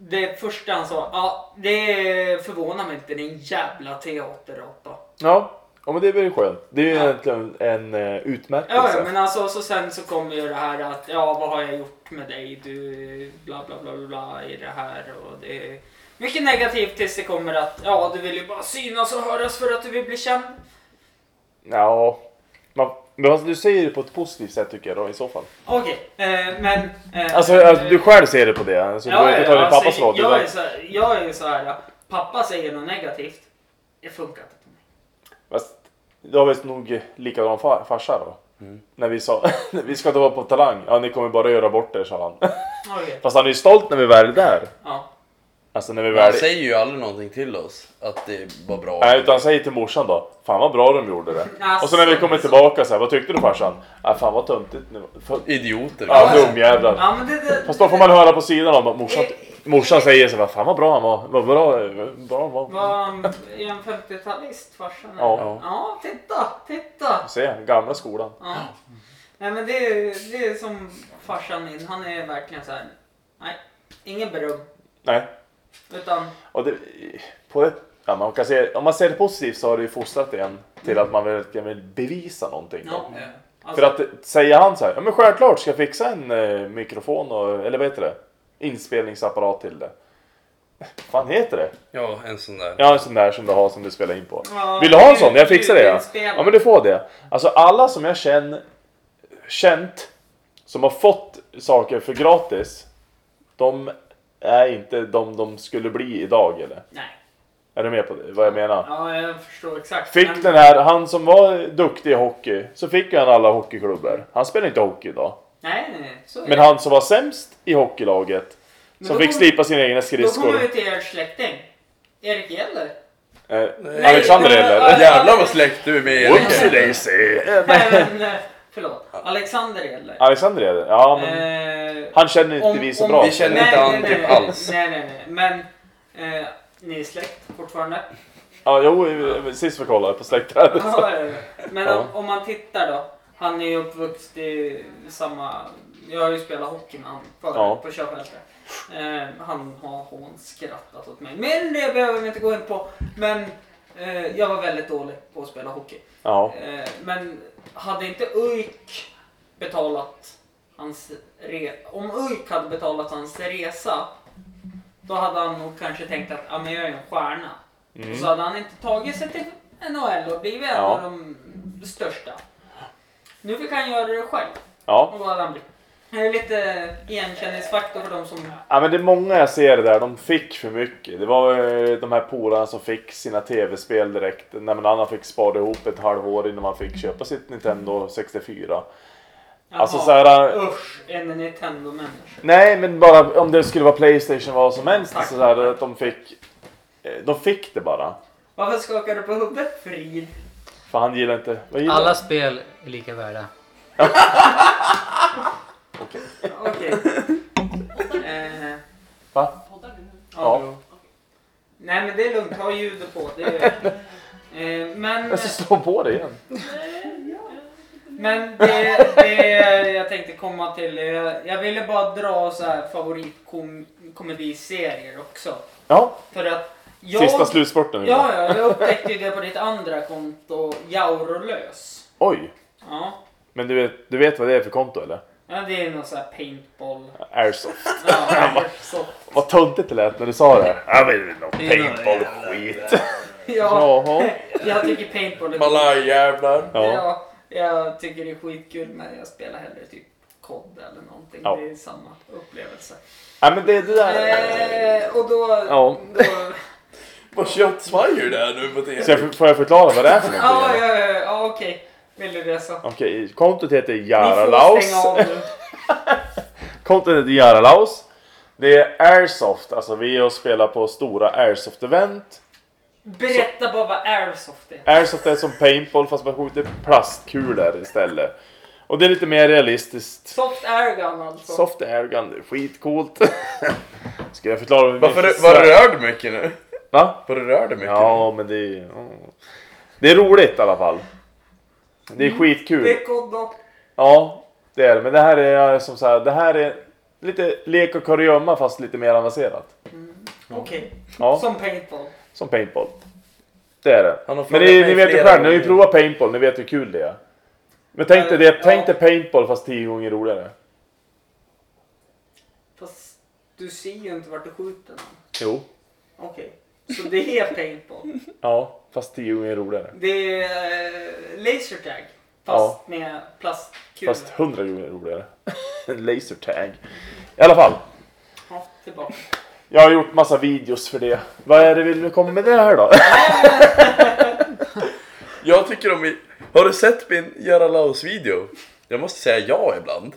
S4: Det första han sa, ja det förvånar mig inte, det är en jävla teaterapa.
S3: ja. Ja men det blir ju skönt. Det är ju
S4: Ja.
S3: egentligen en eh,
S4: Ja,
S3: utmärkelse.
S4: ja, men alltså så sen så kommer ju det här att ja, vad har jag gjort med dig? Du bla bla bla bla, bla i det här och det är mycket negativt tills det kommer att ja, du vill ju bara synas och höras för att du vill bli känd.
S3: Ja. Man, men alltså, du säger det på ett positivt sätt tycker jag då i så fall.
S4: Okej, eh, men. Eh,
S3: Alltså, alltså du själv ser det på det. Alltså, du har inte tagit pappas roll.
S4: jag,
S3: utan-
S4: är så här, jag är ju så här, pappa säger något negativt. Det funkar inte för mig.
S3: Fast då har vi nog likadan far, farsa då. När vi sa vi ska inte vara på Talang. Ja ni kommer bara göra bort er sa han.
S4: Okej,
S3: Fast han är ju stolt när vi väl är där.
S4: ja.
S3: Alltså när vi
S5: Han
S3: väl...
S5: säger ju aldrig någonting till oss att det var bra.
S3: Nej utan han säger till morsan då. Fan vad bra de gjorde det.
S4: Alltså,
S3: och så när vi kommer tillbaka så här. Vad tyckte du farsan? Ja fan vad töntigt. nu. Fan,
S5: Idioter.
S3: Ja dumjävlar.
S4: Ja, Eh, men det, det,
S3: Fast då får man höra på sidan om att morsan, morsan säger så här. Fan vad bra han var. Vad bra. bra, bra.
S4: Var han är en 50-talist farsan? eller?
S3: Ja.
S4: Ja, titta, titta.
S3: Se, gamla skolan.
S4: Ja. Nej men det är, det är som farsan min, han är verkligen så här. nej, ingen beröm.
S3: Nej.
S4: Utan,
S3: Och det, på ett, ja, man kan se, om man ser det positivt så har det ju fostrat en till att man verkligen vill bevisa någonting. då.
S4: ja. Alltså,
S3: För att säga han så här, ja men självklart ska jag fixa en eh, mikrofon och, eller vad heter det? Inspelningsapparat till det. Vad fan heter det?
S5: Ja, en sån där.
S3: Ja en sån där som du har som du spelar in på.
S4: Ja,
S3: Vill du ha en sån?
S4: ljud-
S3: Jag fixar det ja.
S4: ljudinspelare.
S3: Ja men du får det. Alltså alla som jag känner, känt, som har fått saker för gratis. De är inte de de skulle bli idag eller?
S4: nej.
S3: Är du med på det, vad jag menar?
S1: Ja, jag förstår exakt.
S3: Fick
S1: Men-
S3: den här, han som var duktig i hockey, så fick ju han alla hockeyklubbor. Han spelar inte hockey idag.
S1: Nej, nej, nej. Så är
S3: Men
S1: det.
S3: han som var sämst i hockeylaget,
S1: Men
S3: som
S1: då
S3: fick
S1: kommer-
S3: slipa sina egna
S1: Då kommer vi
S3: skridskor.
S1: till er släkting. Erik Gäller.
S3: Eh, Alexander eller?
S5: Jävlar vad släkt du är med
S3: Whoopsie
S5: Erik.
S3: daisy!
S1: Nej, men eh, förlåt. Alexander Gäller.
S3: Alexander är det? Ja, men
S1: Eh,
S3: han känner inte
S1: om-
S3: vi så
S1: om
S3: bra.
S5: vi känner- inte
S1: nej,
S5: han
S1: nej,
S5: typ
S1: nej,
S5: alls.
S1: Nej, nej, nej. Men eh, ni är släkt fortfarande.
S3: Ja, jo, eh, sist vi kollade på släktträdet.
S1: Ja, ja, ja. Men
S3: Ja.
S1: om, om man tittar då. Han är ju uppvuxen i samma... Jag har ju spelat hockey med honom förut
S3: Ja.
S1: på körfältet. Eh, han har hånskrattat åt mig. Men det behöver vi inte gå in på. Men eh, jag var väldigt dålig på att spela hockey.
S3: Ja,
S1: Eh, men hade inte UIK betalat hans re- Om UIK hade betalat hans resa. Då hade han nog kanske tänkt att ah, men jag är en stjärna. Och så hade han inte tagit sig till NHL och blivit en
S3: Mm. Ja.
S1: av de största. Nu fick han göra det själv.
S3: ja.
S1: Och då hade han blivit. Det är lite igenkänningsfaktor för de som...
S3: Ja men det är många jag ser där, de fick för mycket. Det var eh, de här polarna som fick sina tv-spel direkt. När man annan fick spara ihop ett halvår innan man fick köpa sitt Nintendo 64. Alltså
S1: Jaha,
S3: så här, eh,
S1: Usch, en Nintendo-människa.
S3: Nej men bara om det skulle vara Playstation vad som helst.
S1: Tack.
S3: Så här, att de fick... eh, De fick det bara.
S1: Varför skakar du på huvudet, Frid?
S3: För han gillar inte... Vad gillar
S6: Alla
S3: han?
S6: spel är lika värda.
S1: Okej. Eh,
S3: Va?
S7: Poddar vi nu?
S3: Ja.
S1: ja. Nej men det är lugnt, ha ljudet på. Det är... eh, men
S3: Jag ska slå på det igen.
S1: men det, det jag tänkte komma till, jag, jag ville bara dra så här favoritkomediserier också.
S3: Ja,
S1: För att jag,
S3: sista slutspurten. nu.
S1: ja, ja, jag upptäckte ju det på ditt andra konto, Jaurolös.
S3: Oj!
S1: Ja.
S3: Men du vet, du vet vad det är för konto eller?
S1: ja, det är någon så här paintball.
S3: Airsoft.
S1: Ja, så,
S3: Vad töntigt det lät när du sa det. Ja men det är någon
S6: Det är någon
S3: paintball-skit.
S1: ja,
S3: Jaha.
S1: jag tycker paintball är
S5: Malajjävlar.
S3: Ja.
S1: Ja, jag tycker det är skitkul men jag spelar hellre typ kod eller någonting.
S3: Ja.
S1: Det är samma upplevelse.
S3: Ja men det, det där...
S1: Eh, och då...
S3: Ja.
S1: då
S5: Vad köttsvajer det är nu på
S3: Så jag,
S5: tv.
S3: får- får jag förklara vad det är för
S1: ja,
S3: någonting?
S1: ja, ja, ja, okej. Vill du det så. Ni
S3: Okej, kontot heter
S1: får
S3: Jaralaus.
S1: stänga av nu.
S3: Kontot heter Jaralaus. Det är Airsoft, alltså vi är och spelar på stora Airsoft-event.
S1: Berätta bara vad airsoft är.
S3: Airsoft är som paintball fast man skjuter plastkulor istället. Och det är lite mer realistiskt.
S1: Soft airgun alltså.
S3: Soft airgun, det är skitcoolt. Ska jag förklara? vad vi-
S5: Varför var rör du mycket nu?
S3: Va?
S5: Var du rör du mycket?
S3: Ja, men det är... ja. Det är roligt i alla fall. Det är skitkul.
S1: Mm. Det är kod då.
S3: Ja, det är det. Men det här är eh, som så här, det här är lite lek och kurragömma fast lite mer avancerat.
S1: Okej.
S3: Ja,
S1: Som paintball.
S3: som paintball. Det är det.
S5: Han
S3: Men
S5: har frågat
S3: ni,
S5: mig
S3: ni vet ju
S5: flera
S3: själv, ni har ju
S5: gånger.
S3: provat paintball, ni vet hur kul det är. Men tänk dig,
S1: Ja.
S3: det, tänk dig paintball fast tio gånger roligare.
S1: Fast du ser ju inte vart du skjuter någon.
S3: Jo.
S1: Okej. Så det är paintball.
S3: Ja, fast tio gånger roligare.
S1: Det är eh, laser tag. Fast med plastkulor.
S3: Fast hundra gånger roligare. En laser tag. I alla fall.
S1: Ja, tillbaka.
S3: Jag har gjort massa videos för det. Vad är det vill vi komma med det här då?
S5: Jag tycker om... i- Har du sett min Jaralaus video? Jag måste säga ja ibland.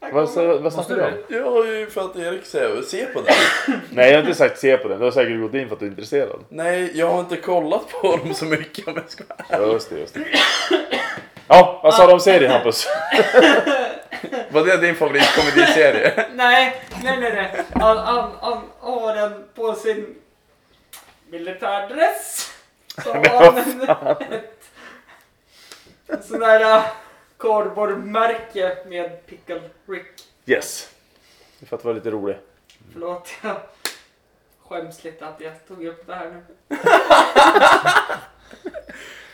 S3: vad, vad, vad snackar
S6: Måste
S3: du
S6: du?
S3: om?
S5: Ja, för att Erik säger se på den.
S3: Nej, jag har inte sagt se på den. Du har säkert gått in för att du är intresserad.
S5: Nej, jag har inte kollat på dem så mycket om jag ska vara
S3: Ja, just det, just det. Ja, vad sa du om serien Hampus?
S5: Var det din favoritkomediserie?
S1: Nej, nej, nej, nej. Han, han, han har den på sin militärdress. Så har han en- ett en sån där äh, kardborrmärke med Pickle Rick.
S3: Yes. För att vara lite rolig.
S1: Förlåt, jag skäms lite att jag tog upp det här nu.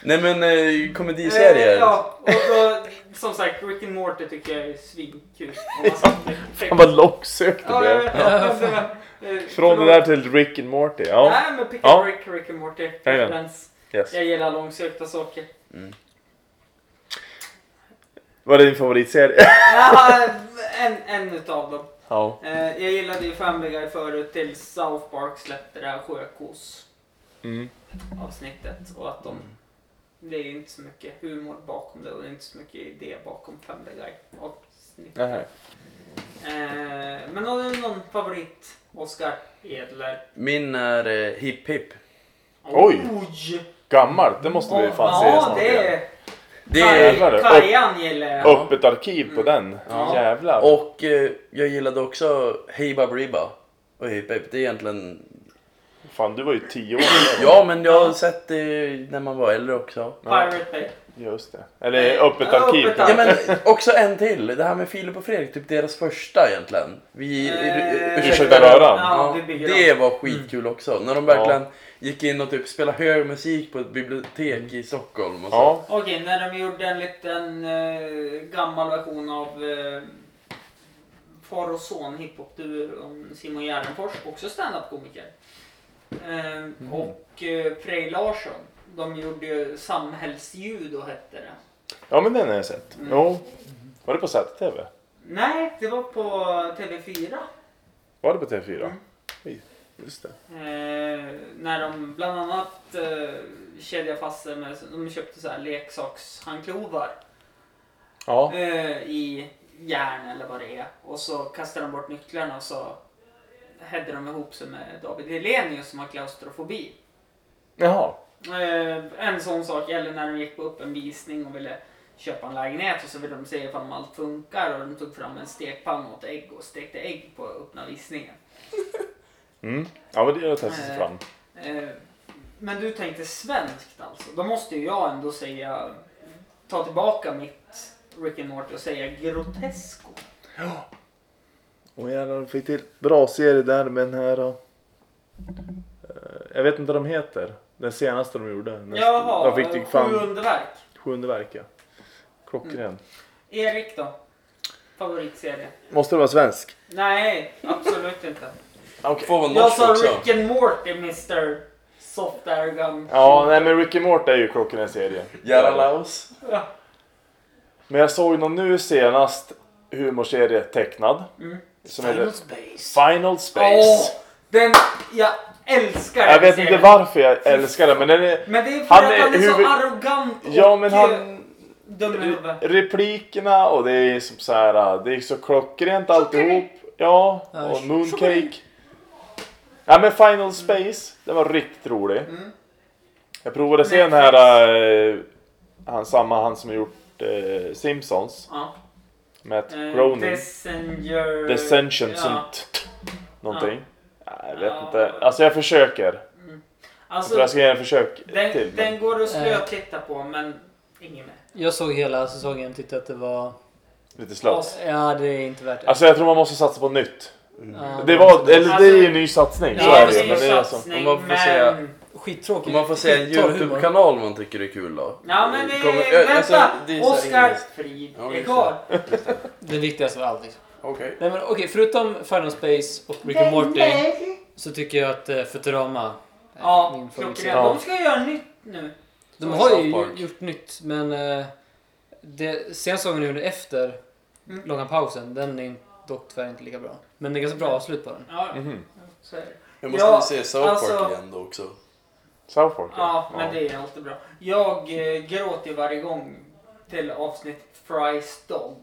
S5: Nej men eh, komediserier.
S1: Eh, Ja, och då, som sagt, Rick and Morty tycker jag är svinkul. Om man ska-
S3: Fan vad långsökt det
S1: Ja, jag
S3: blev.
S1: vet, men det var- eh,
S3: Från det där till Rick and Morty. Ja,
S1: Nej, men Pickle
S3: Ja.
S1: Rick, Rick and Morty.
S3: Jajamän.
S1: referens.
S3: yes.
S1: Jag gillar långsökta saker.
S3: Vad är din favoritserie?
S1: Jag har en, en utav dem.
S3: Ja.
S1: Eh, jag gillade ju Family Guy förut till South Park släppte det här sjökos
S3: Mm.
S1: avsnittet och att de det är ju inte så mycket humor bakom det och det är inte så mycket idé bakom Family Guy avsnittet.
S3: Nej.
S1: Eh, men har du någon favorit Oscar Edler?
S5: Min är eh, Hipp Hipp.
S3: Oj.
S1: Oj!
S3: Gammalt, det måste vi
S1: Åh,
S3: fan se
S1: ja,
S3: snart
S1: det
S3: igen.
S1: är...
S5: Det är,
S3: Jävlar, det.
S1: Kajan gillar jag.
S3: Öppet arkiv på den.
S1: Ja.
S3: Jävlar.
S5: och eh, jag gillade också Hey Baberiba och Hipp Hipp. Det är egentligen...
S3: Fan, du var ju tio år då.
S5: Ja, men jag har sett det när man var äldre också.
S1: Pirate Bay.
S3: Just det. Eller öppet
S1: Ja,
S3: arkiv.
S1: öppet
S5: Ja
S3: kanske.
S5: men också en till, det här med Filip och Fredrik, typ deras första egentligen. Vi,
S1: Eh,
S3: Ursäkta röran.
S1: Ja,
S5: Ja,
S1: vi bygger Mm. om.
S5: det var skitkul också. När de verkligen gick in och typ spelade hög musik på ett bibliotek i Stockholm och så.
S3: Ja.
S1: Okej, när de gjorde en liten eh, gammal version av eh, far och son hiphopduon Simon Gärdenfors, också standup-komiker. Eh, Och eh, Frej Larsson. De gjorde ju Samhällsljud och hette det.
S3: ja, men den har jag sett.
S1: Mm.
S3: Jo. Var det på ZTV?
S1: Nej, det var på TV4.
S3: Var det på TV4?
S1: Mm.
S3: Oj, Just det.
S1: Eh, när de bland annat eh, kedjade fast sig med, de köpte så här leksakshandklovar.
S3: Ja.
S1: eh, i järn eller vad det är. Och så kastade de bort nycklarna och så hädde de ihop sig med David Hellenius som har klaustrofobi.
S3: Jaha.
S1: Eh, en sån sak, eller när de gick på öppen visning och ville köpa en lägenhet och så ville de se ifall allt funkar och de tog fram en stekpanna åt ägg och stekte ägg på öppna visningen.
S3: Mm. Ja, men det har testat sig
S1: Eh.
S3: fram.
S1: Eh, men du tänkte svenskt alltså. Då måste ju jag ändå säga, ta tillbaka mitt Rick and Morty och säga grotesco.
S3: Och jävlar, de fick till bra serie där med den här... eh, Jag vet inte vad de heter. Den senaste de gjorde. Näst-
S1: Jaha,
S3: de fick till
S1: sju
S3: fan
S1: underverk.
S3: sjunde verk ja. Klockren.
S1: Mm. Erik då? Favoritserie?
S3: Måste det vara svensk?
S1: Nej, absolut inte.
S5: Okay. Får vara
S1: Jag
S5: norsk
S1: sa
S5: också.
S1: Rick and Morty, Mr. Soft Air Gun.
S3: Ja, nej men Rick and Morty är ju klockren serie.
S5: Gerhard Laus.
S1: Ja.
S3: Men jag såg någon nu senast humorserie tecknad.
S1: Mm.
S3: Som heter
S1: Space.
S3: Final Space.
S1: Åh, den, jag älskar
S3: jag
S1: den
S3: vet
S1: serien.
S3: inte varför jag älskar den men den är...
S1: Men det är för
S3: Han
S1: att
S3: är
S1: han är så
S3: huvud-
S1: arrogant och
S3: Ja men
S1: eh,
S3: han...
S1: dum i huvudet.
S3: Replikerna och det är som så här, äh, det är så klockrent alltihop. Ja, och Mooncake. Ja
S1: Mm.
S3: men Final Space, den var riktigt rolig. Jag provade att se den här, eh, han, samma han som har gjort eh, Simpsons,
S1: Ja.
S3: Matt
S1: Eh,
S3: Groening.
S1: Messenger...
S3: The Sentient
S1: Ja.
S3: någonting. Ja, jag vet inte, alltså jag försöker. Jag tror
S1: Alltså,
S3: jag ska ge en försök till.
S1: den,
S3: Men...
S1: den går att slötitta på men inget mer.
S6: Jag såg hela säsongen och tyckte att det var...
S3: Lite slött.
S6: Ja, det är inte värt det.
S3: Alltså jag tror man måste satsa på nytt.
S6: Ja,
S3: Det var, eller det är ju
S1: Alltså-
S3: en ny satsning, så
S1: Det är
S3: är det ju,
S1: en
S3: men det är alltså...
S1: satsning
S5: om man får
S1: men...
S5: säga-
S6: Skittråkigt.
S5: Om man får säga en
S6: Skittorr humor.
S5: Youtube-kanal man tycker är kul då.
S1: Ja men det,
S5: Kommer- ö-
S1: vänta!
S5: alltså, det är så här
S1: Oskar
S5: inget-
S1: Frid
S5: Ja,
S1: är
S5: just
S1: kvar.
S6: Det viktigaste av allt liksom.
S5: Okej.
S6: Nej men okej, förutom Final Space och Rick and Morty så tycker jag att eh, Futurama är
S1: Ja,
S6: min favoritserie.
S1: klockrent. De ska göra nytt nu.
S6: De har ju
S5: South Park.
S6: gj- gjort nytt men eh, det, senaste gången de gjorde efter
S1: Mm.
S6: långa pausen, den är in- dock tyvärr inte lika bra. Men det är ganska bra
S1: Mm.
S6: avslut på den.
S1: Ja,
S3: Mhm.
S1: så är det.
S5: Jag måste
S1: Ja,
S5: se South Park
S1: alltså-
S5: igen då också.
S3: South Park
S1: ja men det är alltid bra. Jag eh, gråter ju varje gång till avsnittet Fry's Dog.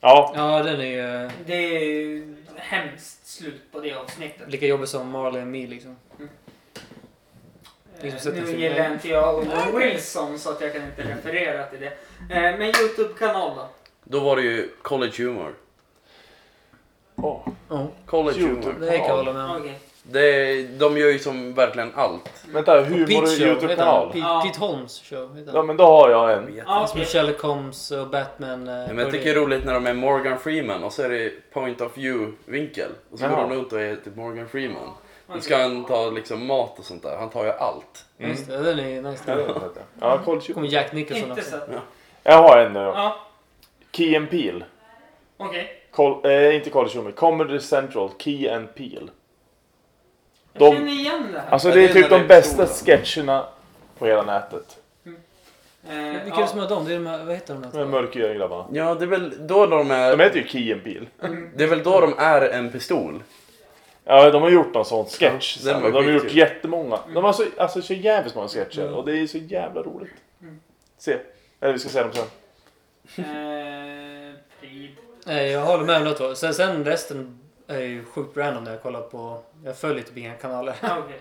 S3: Ja,
S6: Ja, den är ju eh,
S1: Det är ju hemskt slut på det avsnittet.
S6: lika jobbig som Marley and Me liksom. liksom
S1: Mm. Eh,
S6: sett den
S1: nu
S6: filmen.
S1: gillar inte jag Owen Wilson så att jag kan inte referera till det. Eh, men Youtube-kanal då?
S5: Då var det ju College Humor.
S3: Åh,
S6: Ja,
S5: College
S3: YouTube.
S5: Humor.
S6: det kan jag hålla med om.
S1: Okej.
S5: Det, är- de gör ju som verkligen allt.
S3: Vänta,
S6: Och
S3: humor och
S6: Pete's show, heter han?
S3: Youtube-kanal?
S1: Ja.
S6: Pete, Pete Holmes show heter
S3: Ja
S6: han.
S3: men då har jag en.
S5: Vet.
S1: Ja,
S6: Hans
S1: okej.
S6: Michelle Combs och Batman. eh,
S5: Men
S6: börjar-
S5: jag tycker det är roligt när de är Morgan Freeman och så är det point of view-vinkel. Och så går
S3: Jaha.
S5: de runt och är typ Morgan Freeman. Nu ska han ta liksom mat och sånt där. Han tar ju allt.
S6: Ja, Just det, den är ju nice.
S3: Ja, det
S6: Då
S3: vet jag. Ja, kolla Youtube.
S6: kommer Jack Nicholson
S1: Inte
S6: också.
S1: sett.
S3: Jag har en nu.
S1: Ja,
S3: Key and Peel.
S1: okej.
S3: Col- eh, inte College Humor, Comedy Central, Key and Peel.
S1: Jag
S3: De-
S1: känner igen det här.
S3: Alltså
S5: Ja,
S3: det är
S5: det är
S3: typ
S5: när
S3: de
S5: det är
S3: bästa
S5: stora.
S3: sketcherna på hela nätet.
S1: Eh,
S6: Vilka är det som har dem? Det är de här, vad heter de?
S3: De här
S6: Där?
S3: mörkhyade grabbarna.
S5: Ja, det är väl då de är...
S3: De typ- heter ju Key and Peele.
S5: Det är väl då de är en pistol.
S3: Ja, de har gjort någon sån sketch.
S5: Ja,
S3: sen.
S5: den var
S3: de har gjort
S5: skitkul.
S3: jättemånga. De har så, alltså, så jävligt många sketcher och det är så jävla roligt.
S1: Mm.
S3: Se. Eller vi ska se dem sen.
S1: eh, Prid.
S6: Nej, jag håller med om det två. Sen, sen resten är ju sjukt random när jag kollar på... Jag följer typ inga kanaler.
S1: Ja, okej.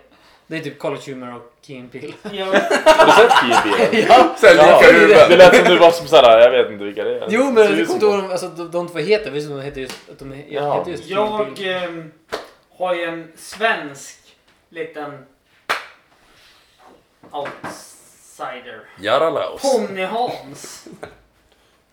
S6: Det är typ College Humor och Keen Peel.
S1: Ja,
S3: Har du sett Key and Peele?
S5: Ja, sen
S3: Ja,
S5: lika huvud.
S3: det lät som du var som såhär, jag vet inte vilka det är.
S6: Jo, men
S3: Det ser
S6: jag
S3: ut
S6: kommer
S3: som-
S6: inte ihåg de- alltså, de, de två heter. Visst, de heter just... Att de he-
S3: Ja.
S6: heter just Keen Peel.
S1: jag eh, har ju en svensk liten outsider.
S5: Jaralaus.
S1: Pony Hans.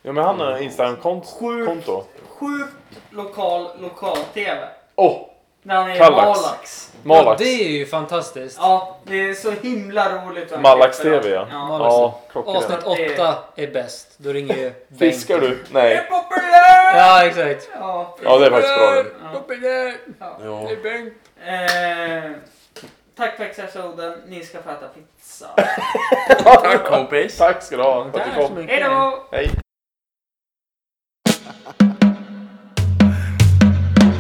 S3: Ja, men han har en Instagram-konto.
S1: Sjukt lokal lokal-tv.
S3: Åh! Oh,
S1: När han är i
S3: Kallax.
S1: Malax.
S6: Ja,
S3: Malax.
S6: det är ju fantastiskt.
S1: Ja, det är så himla roligt. att han
S3: Malax
S1: klipper
S3: TV, ja.
S1: allt.
S6: Malax.
S3: Ja, klockrent.
S6: Avsnitt åtta är bäst. Då ringer ju Bengt.
S3: Fiskar du?
S1: Det är
S3: Nej.
S1: populärt!
S6: Ja, exakt.
S1: Ja.
S3: Ja, det är faktiskt bra. den.
S5: Ja.
S1: Eh, tack för extrasoden. Ni ska få äta pizza.
S5: Tack kompis.
S3: Tack ska du ha för att du kom.
S1: Hej då!
S3: Hej.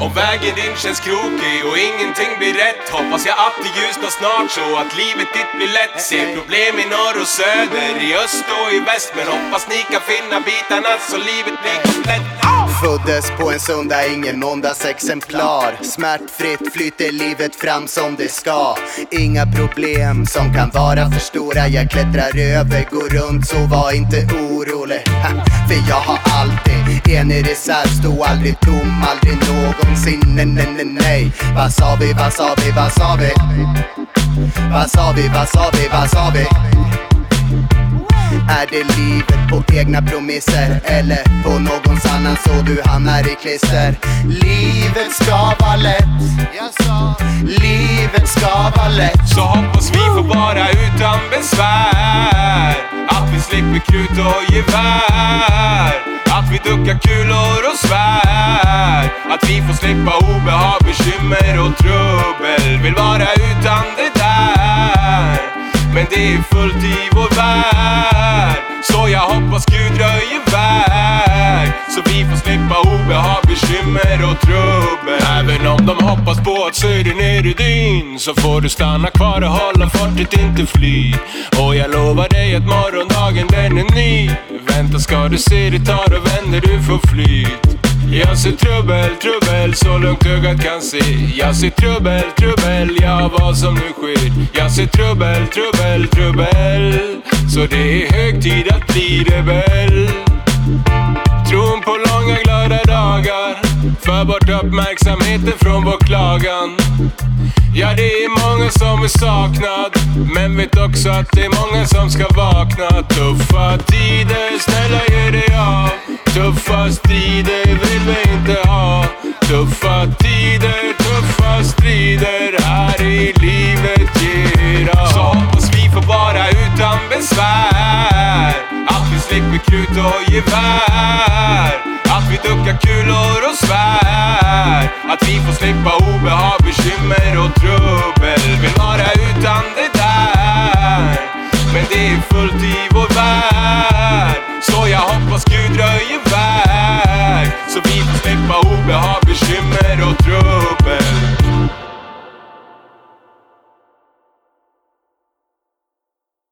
S2: Om vägen in känns krokig och ingenting blir rätt Hoppas jag att det ljusnar snart så att livet ditt blir lätt Ser problem i norr och söder, i öst och i väst Men hoppas ni kan finna bitarna så livet blir komplett Ah!
S8: Föddes på en söndag, ingen måndagsexemplar. Smärtfritt flyter livet fram som det ska. Inga problem som kan vara för stora. Jag klättrar över, går runt, så var inte orolig. Ha, för jag har alltid en i reserv, stod aldrig tom, aldrig någonsin. Nej, nej, nej, nej. Vad sa vi, vad sa vi, vad sa vi? Vad sa vi, vad sa vi, vad sa vi? Är det livet på egna promisser eller på någons annan så du hamnar i klister? Livet ska vara lätt. Jag sa. Livet ska vara lätt.
S2: Så hoppas vi får vara utan besvär Att vi slipper krut och gevär Att vi duckar kulor och svär Att vi får slippa obehag, bekymmer och trubbel Vill vara utan det där Men det är fullt i vår värld Så jag hoppas Gud röjer väg Så vi får slippa obehag, bekymmer och trubbel Även om de hoppas på att sy dig ner i dyn Så får du stanna kvar och hålla fortet, inte fly Och jag lovar dig att morgondagen den är ny Vänta ska du se, det tar och vänder, du får flyt jag ser trubbel, trubbel så långt ögat kan se Jag ser trubbel, trubbel, ja vad som nu sker Jag ser trubbel, trubbel, trubbel Så det är hög tid att bli rebell Tron på långa glada dagar För bort uppmärksamheten från vår klagan Ja, det är många som är saknad Men vet också att det är många som ska vakna Tuffa tider, snälla ge dig av Tuffa strider vill vi inte ha Tuffa tider, tuffa strider här i livet ger av Så hoppas vi får vara utan besvär Att vi slipper krut och gevär Att vi duckar kulor och svär Att vi får slippa obehag, bekymmer och trubbel